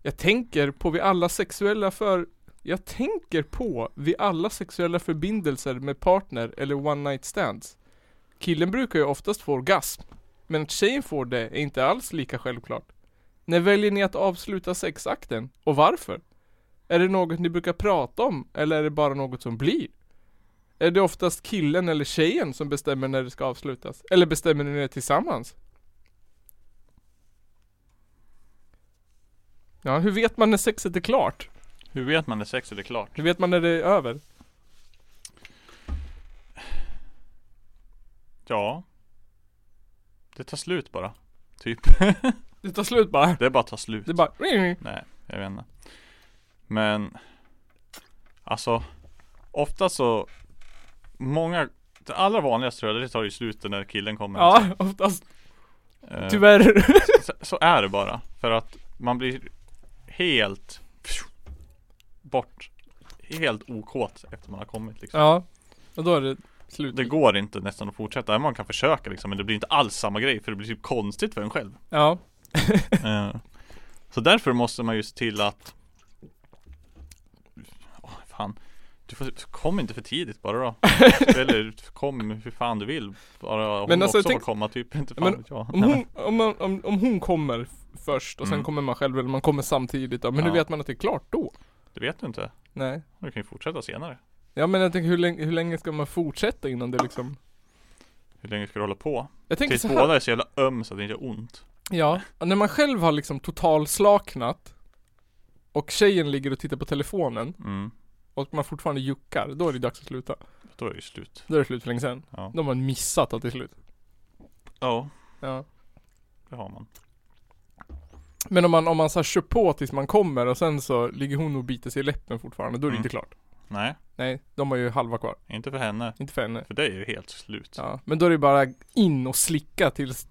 Speaker 2: Jag tänker på vid alla sexuella för jag tänker på vid alla sexuella förbindelser med partner eller one night stands. Killen brukar ju oftast få orgasm, men att tjejen får det är inte alls lika självklart. När väljer ni att avsluta sexakten och varför? Är det något ni brukar prata om eller är det bara något som blir? Är det oftast killen eller tjejen som bestämmer när det ska avslutas? Eller bestämmer ni det tillsammans? Ja, hur vet man när sexet är klart?
Speaker 3: Hur vet man när sexet är klart?
Speaker 2: Hur vet man när det är över?
Speaker 3: Ja. Det tar slut bara. Typ.
Speaker 2: Det tar slut bara.
Speaker 3: Det bara tar slut.
Speaker 2: Det är bara...
Speaker 3: Nej, jag vet inte. Men Alltså Ofta så Många Det allra vanligaste tror jag det tar ju slut när killen kommer
Speaker 2: Ja, oftast.
Speaker 3: Eh,
Speaker 2: Tyvärr.
Speaker 3: så, så är det bara För att man blir Helt Bort Helt okåt efter man har kommit liksom
Speaker 2: Ja. Och då är det slut.
Speaker 3: Det går inte nästan att fortsätta Man kan försöka liksom Men det blir inte alls samma grej För det blir typ konstigt för en själv
Speaker 2: Ja.
Speaker 3: Eh, Så därför måste man ju se till att Åh, Fan Du får, kom inte för tidigt bara då Eller kom hur fan du vill Bara hon
Speaker 2: Men alltså,
Speaker 3: också
Speaker 2: tänk-
Speaker 3: får komma typ inte fan
Speaker 2: Men
Speaker 3: vet jag.
Speaker 2: Om hon, om, man, om, om hon kommer f- först och sen kommer man själv eller man kommer samtidigt då. Men hur
Speaker 3: Mm. Ja.
Speaker 2: vet man att det är klart då?
Speaker 3: Det vet du inte
Speaker 2: Nej.
Speaker 3: Du kan ju fortsätta senare
Speaker 2: Ja men jag tänker hur länge, hur länge ska man fortsätta innan det liksom...
Speaker 3: Hur länge ska du hålla på?
Speaker 2: Jag tänker
Speaker 3: Tills
Speaker 2: så här.
Speaker 3: båda är så jävla öm så att det inte gör ont
Speaker 2: Ja. När man själv har liksom totalslaknat och tjejen ligger och tittar på telefonen
Speaker 3: mm.
Speaker 2: och man fortfarande juckar, då är det dags att sluta.
Speaker 3: Då är det ju slut
Speaker 2: Då är det slut för länge sedan.
Speaker 3: Ja.
Speaker 2: Då har man missat att det är slut.
Speaker 3: Ja
Speaker 2: Ja.
Speaker 3: Det har man
Speaker 2: Men om man, om man så här kör på tills man kommer och sen så ligger hon och biter sig i läppen fortfarande, då är det
Speaker 3: Mm.
Speaker 2: inte klart.
Speaker 3: Nej
Speaker 2: Nej, de har ju halva kvar.
Speaker 3: Inte för henne
Speaker 2: Inte för henne.
Speaker 3: För dig är det helt slut
Speaker 2: Ja, men då är det bara in och slicka tills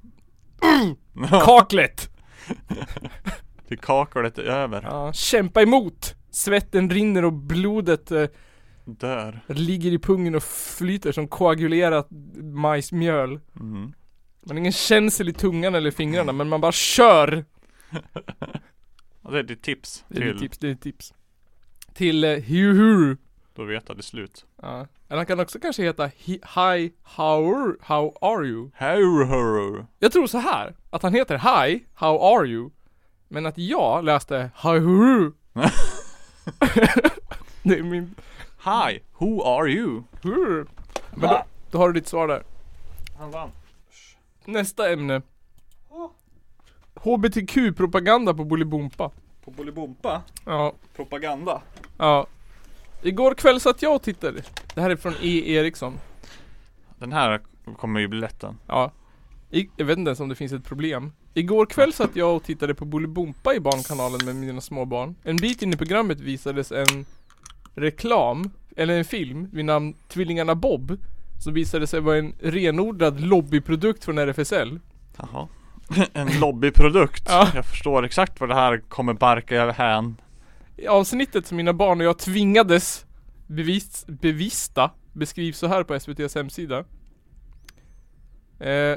Speaker 2: kaklet!
Speaker 3: Till kaklet är över.
Speaker 2: Ja, kämpa emot! Svetten rinner och blodet eh,
Speaker 3: Dör.
Speaker 2: ligger i pungen och flyter som koagulerat majsmjöl.
Speaker 3: Mm.
Speaker 2: Man har ingen känsel i tungan eller fingrarna men man bara kör!
Speaker 3: Och det är ditt tips
Speaker 2: Det är
Speaker 3: till,
Speaker 2: ett tips, det är ett tips. Till eh, Hiuhuru.
Speaker 3: då vet att det är slut.
Speaker 2: Ja. Eller han kan också kanske heta Hi, hi how, how are you?
Speaker 3: Hurru.
Speaker 2: Jag tror så här att han heter Hi, how are you? Men att jag läste Hiuhuru. det är min...
Speaker 3: Hi, who are you?
Speaker 2: Hur? Men då, då har du ditt svar där.
Speaker 3: Han vann.
Speaker 2: Nästa ämne. HBTQ-propaganda på Bolibompa.
Speaker 3: På Bolibompa?
Speaker 2: Ja,
Speaker 3: Propaganda?
Speaker 2: ja. Igår kväll satt jag och tittade. Det här är från E. Eriksson.
Speaker 3: Den här kommer ju bli lätt den.
Speaker 2: Ja. I, jag vet inte ens om det finns ett problem. Igår kväll satt jag och tittade på Bolibompa i Barnkanalen med mina småbarn. En bit in i programmet visades en reklam, eller en film, vid namn Tvillingarna Bob. Som visade sig vara en renodlad lobbyprodukt från RFSL.
Speaker 3: Jaha. En lobbyprodukt.
Speaker 2: Ja.
Speaker 3: Jag förstår exakt vad det här kommer barka över hän.
Speaker 2: I avsnittet som mina barn och jag tvingades bevis, bevista beskrivs så här på SVT's hemsida. Eh,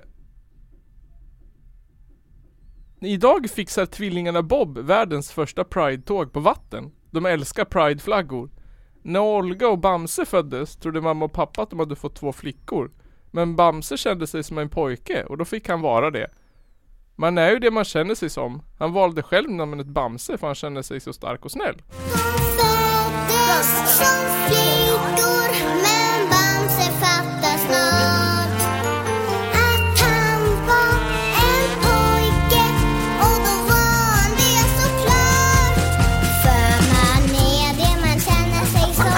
Speaker 2: Idag fixar tvillingarna Bob världens första Pride-tåg på vatten. De älskar Pride-flaggor. När Olga och Bamse föddes trodde mamma och pappa att de hade fått två flickor. Men Bamse kände sig som en pojke och då fick han vara det. Man är ju det man känner sig som. Han valde själv namnet Bamse för han kände sig så stark och snäll.
Speaker 8: Föddes som flickor men Bamse fattar snart att han var en pojke och då var han det såklart. För man är det man känner sig som.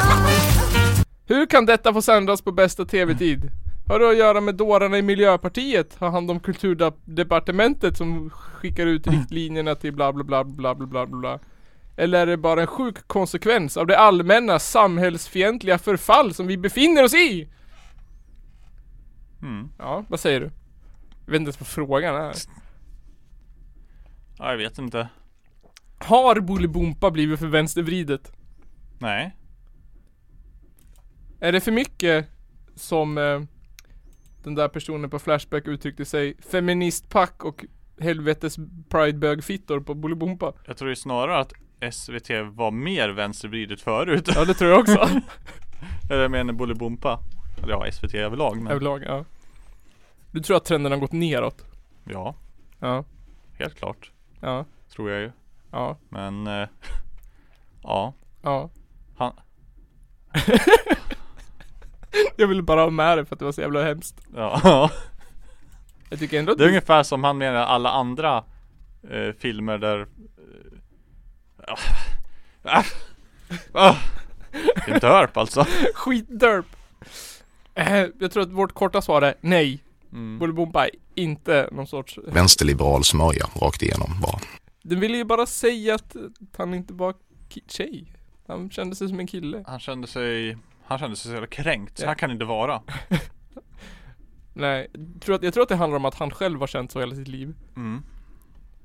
Speaker 2: Hur kan detta få sändas på bästa tv-tid? Har det att göra med dårarna i Miljöpartiet? Har hand om kulturdepartementet som skickar ut riktlinjerna till bla bla bla bla bla bla bla bla? Eller är det bara en sjuk konsekvens av det allmänna samhällsfientliga förfall som vi befinner oss i?
Speaker 3: Mm.
Speaker 2: Ja, vad säger du? Jag vet inte ens vad frågan är.
Speaker 3: Ja, jag vet inte.
Speaker 2: Har Bolibompa blivit för vänstervridet?
Speaker 3: Nej.
Speaker 2: Är det för mycket som eh, den där personen på Flashback uttryckte sig, feministpack och helvetes pridebögfittor på Bolibompa?
Speaker 3: Jag tror ju snarare att SVT var mer vänstervridet förut.
Speaker 2: Ja det tror jag också.
Speaker 3: Eller jag menar Bolibompa. Eller ja, SVT överlag men.
Speaker 2: Överlag, ja. Du tror att trenden har gått neråt?
Speaker 3: Ja,
Speaker 2: Ja,
Speaker 3: helt klart.
Speaker 2: ja,
Speaker 3: Tror jag ju.
Speaker 2: ja,
Speaker 3: Men, eh, ja.
Speaker 2: ja.
Speaker 3: Han,
Speaker 2: Jag ville bara ha med det för att det var så jävla hemskt.
Speaker 3: ja.
Speaker 2: Jag tycker ändå att
Speaker 3: Det är ungefär som han menar alla andra eh, filmer där eh, ah, ah, Det är dörp alltså
Speaker 2: skitderp. Eh, jag tror att vårt korta svar är nej.
Speaker 3: mm.
Speaker 2: Bolibompa är inte någon sorts
Speaker 5: Vänsterliberal smörja rakt igenom bara.
Speaker 2: Den ville ju bara säga att han inte var ki- tjej. Han kände sig som en kille.
Speaker 3: Han kände sig Han kände sig så jävla kränkt, så
Speaker 2: Ja.
Speaker 3: här kan det inte vara
Speaker 2: Nej, jag tror, att, jag tror att det handlar om att han själv har känt så hela sitt liv.
Speaker 3: mm.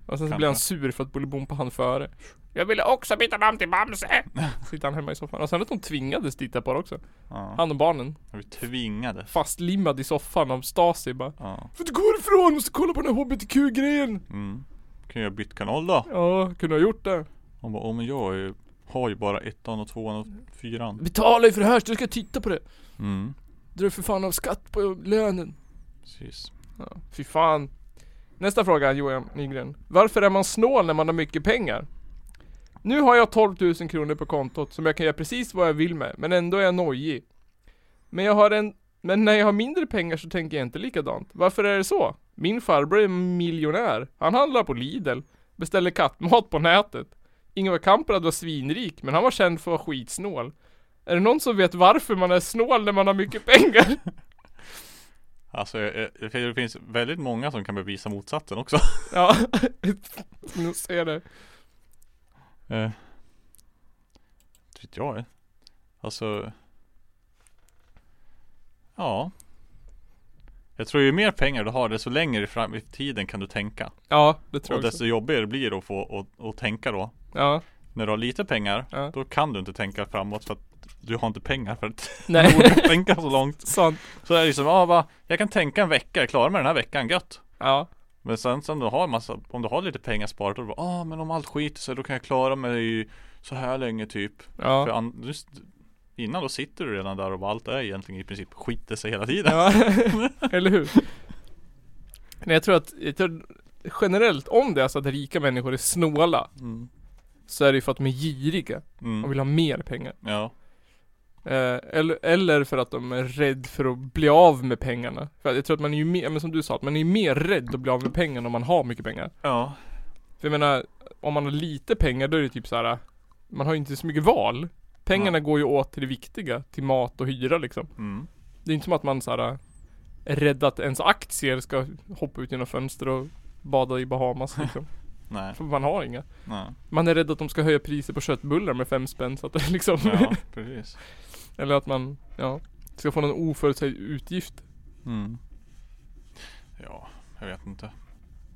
Speaker 2: Och sen så
Speaker 3: Kanske.
Speaker 2: blir han sur för att Bolibompa han före. Jag ville också byta namn till Bamse! Sitter han hemma i soffan. Och sen att hon tvingades titta på det också.
Speaker 3: ja.
Speaker 2: Han och barnen.
Speaker 3: Vi tvingade
Speaker 2: Fastlimmad i soffan av Stasi bara.
Speaker 3: ja.
Speaker 2: Får inte gå ifrån, måste kolla på den här HBTQ-grejen!
Speaker 3: mm. Kan jag byta kanal då?
Speaker 2: Ja, kunde ha gjort det.
Speaker 3: Han bara, åh men jag är ju, har ju bara ettan och tvåan och fyran
Speaker 2: Betala ju för det här så du ska titta på det.
Speaker 3: mm.
Speaker 2: Dra för fan av skatt på lönen.
Speaker 3: Precis
Speaker 2: Ja, fy fan. Nästa fråga Johan Nygren. Varför är man snål när man har mycket pengar? Nu har jag 12 000 kronor på kontot som jag kan göra precis vad jag vill med, men ändå är jag nojig. Men jag har en... Men när jag har mindre pengar så tänker jag inte likadant. Varför är det så? Min farbror är miljonär. Han handlar på Lidl. Beställer kattmat på nätet. Ingvar Kamprad var svinrik, men han var känd för att vara skitsnål. Är det någon som vet varför man är snål när man har mycket pengar?
Speaker 3: Alltså jag- jag- jag- det finns väldigt många som kan bevisa motsatsen också
Speaker 2: Ja, nu ser jag det.
Speaker 3: Eh, Inte vet jag. eh. Alltså. Ja. Jag tror ju mer pengar du har desto längre fram i tiden kan du tänka
Speaker 2: Ja, det tror
Speaker 3: Och
Speaker 2: jag också.
Speaker 3: desto jobbigare blir det att få och, och tänka då
Speaker 2: Ja,
Speaker 3: När du har lite pengar
Speaker 2: Ja.
Speaker 3: Då kan du inte tänka framåt för att Du har inte pengar för att
Speaker 2: Nej.
Speaker 3: du kan tänka så långt
Speaker 2: sant.
Speaker 3: Så är det ju som, ah, va, jag kan tänka en vecka, jag är klar med den här veckan, gött
Speaker 2: Ja,
Speaker 3: Men sen, sen du har en massa, om du har lite pengar sparat då bara, ah, men om allt skiter sig då kan jag klara mig i så här länge typ För
Speaker 2: ja.
Speaker 3: an, just, innan då sitter du redan där och bara, allt är egentligen i princip skiter sig hela tiden
Speaker 2: ja. Eller hur? Nej, jag tror att, jag tror generellt om det är så att rika människor är snåla
Speaker 3: mm.
Speaker 2: så är det ju för att de är giriga och
Speaker 3: Mm.
Speaker 2: vill ha mer pengar.
Speaker 3: Ja,
Speaker 2: Eh, eller, eller för att de är rädd för att bli av med pengarna. För att jag tror att man är ju mer, men som du sa, att man är ju mer rädd att bli av med pengarna om man har mycket pengar.
Speaker 3: ja,
Speaker 2: För jag menar, om man har lite pengar då är det typ så här. man har ju inte så mycket val. Pengarna går ju åt till det viktiga, till mat och hyra liksom.
Speaker 3: mm.
Speaker 2: Det är inte som att man så här äh, är rädd att ens aktier ska hoppa ut genom fönster och bada i Bahamas liksom.
Speaker 3: nej,
Speaker 2: För man har inga.
Speaker 3: nej,
Speaker 2: Man är rädd att de ska höja priset på köttbullar med fem spänn så att det liksom
Speaker 3: ja, precis
Speaker 2: Eller att man, ja Ska få någon oförutsedd utgift
Speaker 3: Mm. Ja, jag vet inte.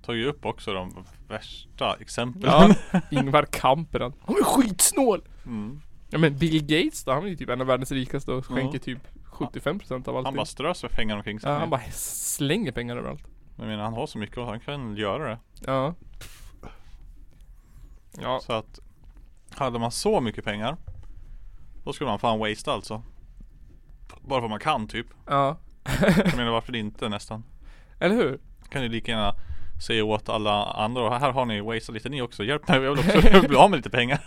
Speaker 3: Tog ju upp också de värsta exemplen.
Speaker 2: Ja Ingvar Kamprad Han är skitsnål!
Speaker 3: Mm.
Speaker 2: Ja men Bill Gates då, han är ju typ en av världens rikaste och skänker typ 75% av
Speaker 3: Han bara
Speaker 2: allting
Speaker 3: strös med pengar omkring sig.
Speaker 2: Ja han bara slänger pengar överallt
Speaker 3: Jag menar han har så mycket och han kan göra det.
Speaker 2: Ja Ja,
Speaker 3: Så att hade man så mycket pengar då skulle man fan waste alltså. Bara för att man kan typ.
Speaker 2: ja
Speaker 3: Jag menar varför inte nästan.
Speaker 2: Eller hur?
Speaker 3: Kan ju lika gärna säga åt alla andra och här har ni wasted lite ni också. Hjälp mig, jag vill också bli av med lite pengar.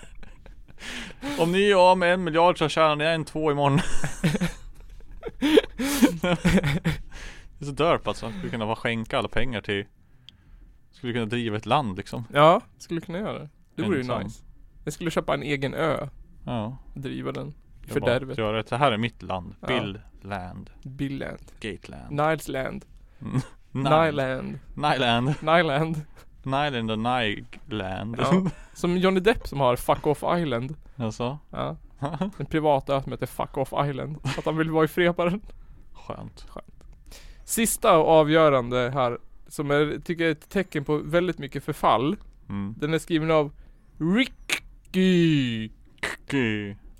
Speaker 3: Om ni är av med en miljard så tjänar ni en två imorgon. Det är så dörp alltså. Skulle kunna vara skänka alla pengar till Skulle kunna driva ett land liksom.
Speaker 2: Ja, skulle kunna göra det. Det vore ju
Speaker 3: Ensam.
Speaker 2: nice. Jag skulle köpa en egen ö
Speaker 3: Ja.
Speaker 2: och driva den.
Speaker 3: det är bara att
Speaker 2: Fördärvet.
Speaker 3: Göra det. Det här är mitt land.
Speaker 2: Ja.
Speaker 3: Bill land.
Speaker 2: Billand.
Speaker 3: Gateland.
Speaker 2: Nilesland.
Speaker 3: Nyland.
Speaker 2: Nyland.
Speaker 3: Nyland.
Speaker 2: Nyland.
Speaker 3: Nyland och Nyland.
Speaker 2: Ja. Som Johnny Depp som har Fuck Off Island.
Speaker 3: alltså.
Speaker 2: Ja. En privat ö som heter Fuck Off Island. Att han vill vara i fred på den.
Speaker 3: Skönt.
Speaker 2: Sista och avgörande här. Som är, tycker jag är ett tecken på väldigt mycket förfall.
Speaker 3: Mm.
Speaker 2: Den är skriven av Ricky.
Speaker 3: Gud.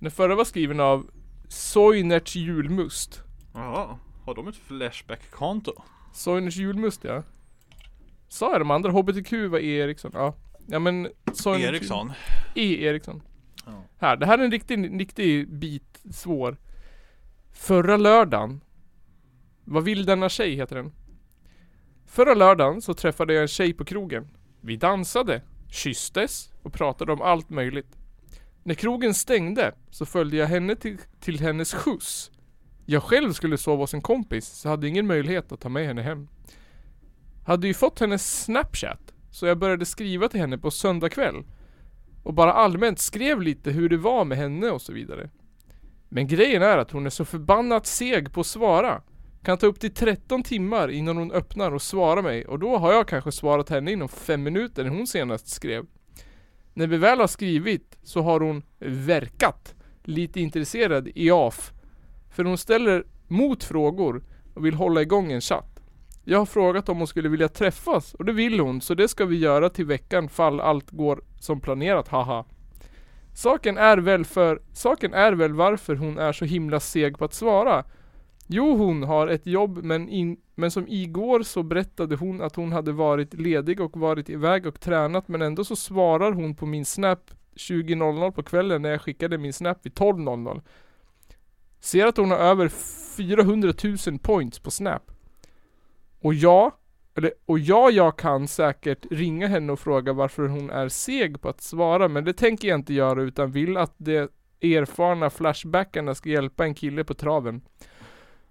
Speaker 2: Den förra var skriven av Soinerts julmust.
Speaker 3: Ja, har de ett Flashback-konto?
Speaker 2: Soiners julmust ja. Sa jag de andra? HBTQ var E Eriksson. Ja. Ja men Soiners jul-
Speaker 3: Eriksson.
Speaker 2: E Eriksson.
Speaker 3: Ja.
Speaker 2: Här, det här är en riktig, en riktig bit svår. Förra lördagen. Vad vill denna tjej heter den. Förra lördagen så träffade jag en tjej på krogen. Vi dansade, kysstes och pratade om allt möjligt. När krogen stängde så följde jag henne till, till hennes skjuts. Jag själv skulle sova hos en kompis så hade ingen möjlighet att ta med henne hem. Hade ju fått hennes snapchat så jag började skriva till henne på söndag kväll och bara allmänt skrev lite hur det var med henne och så vidare. Men grejen är att hon är så förbannat seg på att svara. Kan ta upp till 13 timmar innan hon öppnar och svarar mig och då har jag kanske svarat henne inom 5 minuter när hon senast skrev. När vi väl har skrivit så har hon verkat lite intresserad i AF. För hon ställer mot frågor och vill hålla igång en chatt. Jag har frågat om hon skulle vilja träffas och det vill hon så det ska vi göra till veckan fall allt går som planerat haha. Saken är väl för, saken är väl varför hon är så himla seg på att svara. Jo hon har ett jobb men, in, men som igår så berättade hon att hon hade varit ledig och varit iväg och tränat men ändå så svarar hon på min snap 20.00 på kvällen när jag skickade min snap vid 12.00. Ser att hon har över 400 000 points på snap. Och jag, eller, och ja, jag kan säkert ringa henne och fråga varför hon är seg på att svara, men det tänker jag inte göra utan vill att de erfarna flashbackarna ska hjälpa en kille på traven.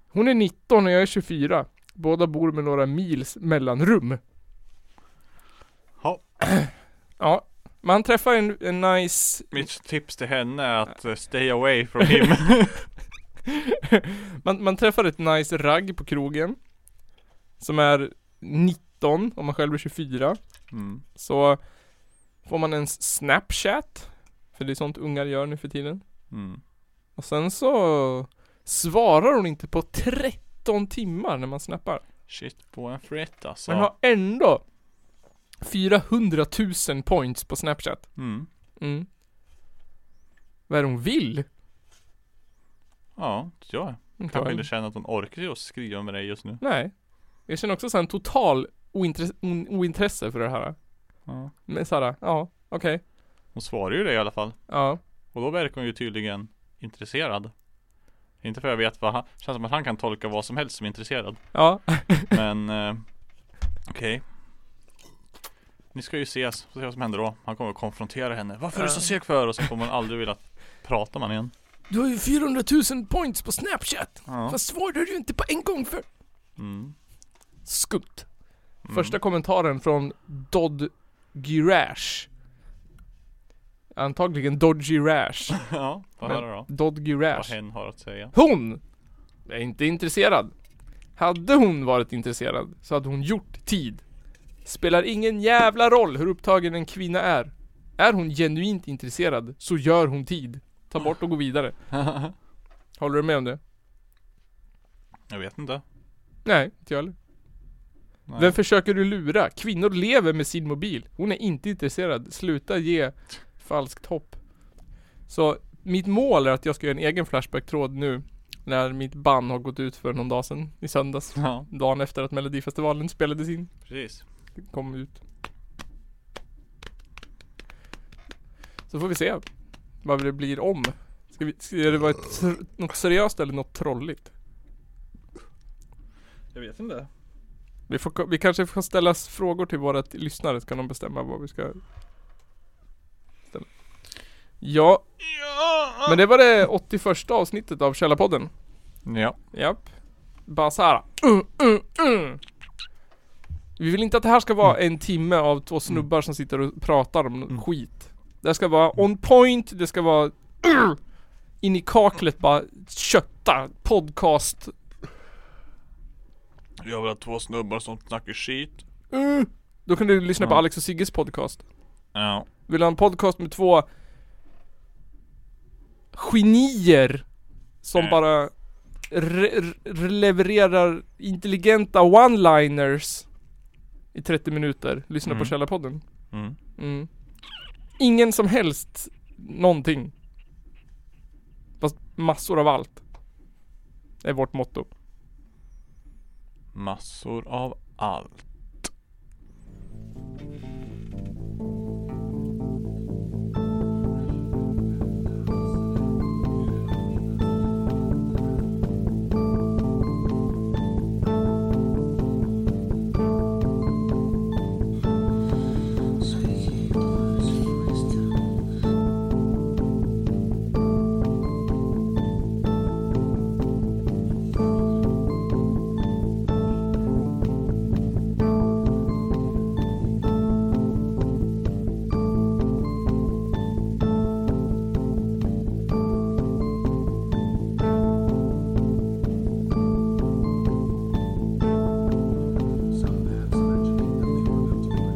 Speaker 2: Hon är 19 och jag är 24. Båda bor med några mils mellanrum.
Speaker 3: Ja.
Speaker 2: Ja, man träffar en, en nice...
Speaker 3: Mitt tips till henne är att eh, stay away from him.
Speaker 2: man, man träffar ett nice ragg på krogen. Som är 19, om man själv är 24.
Speaker 3: Mm.
Speaker 2: Så får man en snapchat. För det är sånt ungar gör nu för tiden.
Speaker 3: Mm.
Speaker 2: Och sen så svarar hon inte på 13 timmar när man snappar.
Speaker 3: Shit på en fritt alltså.
Speaker 2: Men har ändå 400 000 points på Snapchat.
Speaker 3: Mm.
Speaker 2: Mm. Vad är det hon vill?
Speaker 3: Ja, det gör jag.
Speaker 2: Inte
Speaker 3: Jag
Speaker 2: vad
Speaker 3: vill
Speaker 2: hon-
Speaker 3: känna att hon orkar ju skriva med dig just nu.
Speaker 2: Nej. Jag känner också så här en total ointresse, ointresse för det här.
Speaker 3: Ja.
Speaker 2: Men såhär, ja, okej.
Speaker 3: Hon svarar ju det i alla fall.
Speaker 2: Ja.
Speaker 3: Och då verkar hon ju tydligen intresserad. Inte för jag vet vad han, känns som att han kan tolka vad som helst som intresserad.
Speaker 2: Ja.
Speaker 3: Men eh, okej. Ni ska ju ses, får se vad som händer då. Han kommer att konfrontera henne. Varför är du så seg för? Och så kommer hon aldrig vilja prata med honom igen.
Speaker 2: Du har ju 400 000 points på Snapchat! Fast svarade du inte på en gång för...
Speaker 3: Mm.
Speaker 2: Skumt. Första kommentaren från Dodd Girash. Antagligen Dodgy Rash.
Speaker 3: Ja, vad
Speaker 2: Men-
Speaker 3: höra då?
Speaker 2: Dodd
Speaker 3: Vad
Speaker 2: Girash.
Speaker 3: hen har att säga.
Speaker 2: Hon! Är inte intresserad. Hade hon varit intresserad så hade hon gjort tid. Spelar ingen jävla roll hur upptagen en kvinna är. Är hon genuint intresserad så gör hon tid. Ta bort och gå vidare. Håller du med om det?
Speaker 3: Jag vet inte.
Speaker 2: Nej, inte jag heller.
Speaker 3: Nej.
Speaker 2: Vem försöker du lura? Kvinnor lever med sin mobil. Hon är inte intresserad. Sluta ge falskt hopp. Så mitt mål är att jag ska göra en egen Flashback-tråd nu. När mitt band har gått ut för någon dag sedan. I söndags.
Speaker 3: Ja,
Speaker 2: Dagen efter att Melodifestivalen spelades in.
Speaker 3: precis.
Speaker 2: Det Kom ut. Så får vi se. Vad det blir om. Ska, vi, ska det vara ett, tr- något seriöst eller något trolligt?
Speaker 3: Jag vet inte.
Speaker 2: Vi, får, vi kanske får ställa frågor till våra t- lyssnare så kan de bestämma vad vi ska ställa. Ja. Men det var det 81 avsnittet av Källarpodden.
Speaker 3: Ja.
Speaker 2: Japp. Bara såhär. Uh, uh, uh. Vi vill inte att det här ska vara en timme av två snubbar som sitter och pratar om skit. Det här ska vara on point, det ska vara uh, in i kaklet bara kötta podcast.
Speaker 3: Jag vill ha två snubbar som snackar skit.
Speaker 2: Uh. Då kan du lyssna på
Speaker 3: Ja.
Speaker 2: Alex och Sigges podcast.
Speaker 3: Ja.
Speaker 2: Vill ha en podcast med två genier som
Speaker 3: Mm.
Speaker 2: bara re- re- levererar intelligenta one-liners i 30 minuter. Lyssna på
Speaker 3: Mm.
Speaker 2: Källarpodden.
Speaker 3: Mm.
Speaker 2: Mm. Ingen som helst någonting. Fast massor av allt. Det är vårt motto.
Speaker 3: Massor av allt.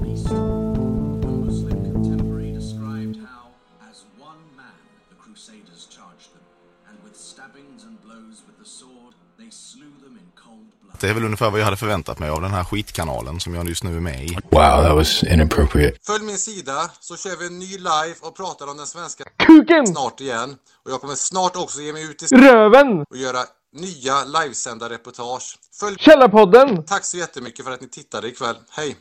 Speaker 9: When Muslim contemporary described how, as one man, the Crusaders charged them, and with stabbings and blows with the sword, they slew them in cold blood.
Speaker 5: Det är väl ungefär vad jag hade förväntat mig av den här skitkanalen som jag just nu är med i.
Speaker 10: Wow, that was inappropriate.
Speaker 11: Följ min sida så kör vi en ny live och pratar om den svenska
Speaker 2: Kuken!
Speaker 11: snart igen. Och jag kommer snart också ge mig ut i s-
Speaker 2: Röven!
Speaker 11: och göra nya livesända reportage. Följ...
Speaker 2: Källarpodden!
Speaker 11: Tack så jättemycket för att ni tittade ikväll. Hej!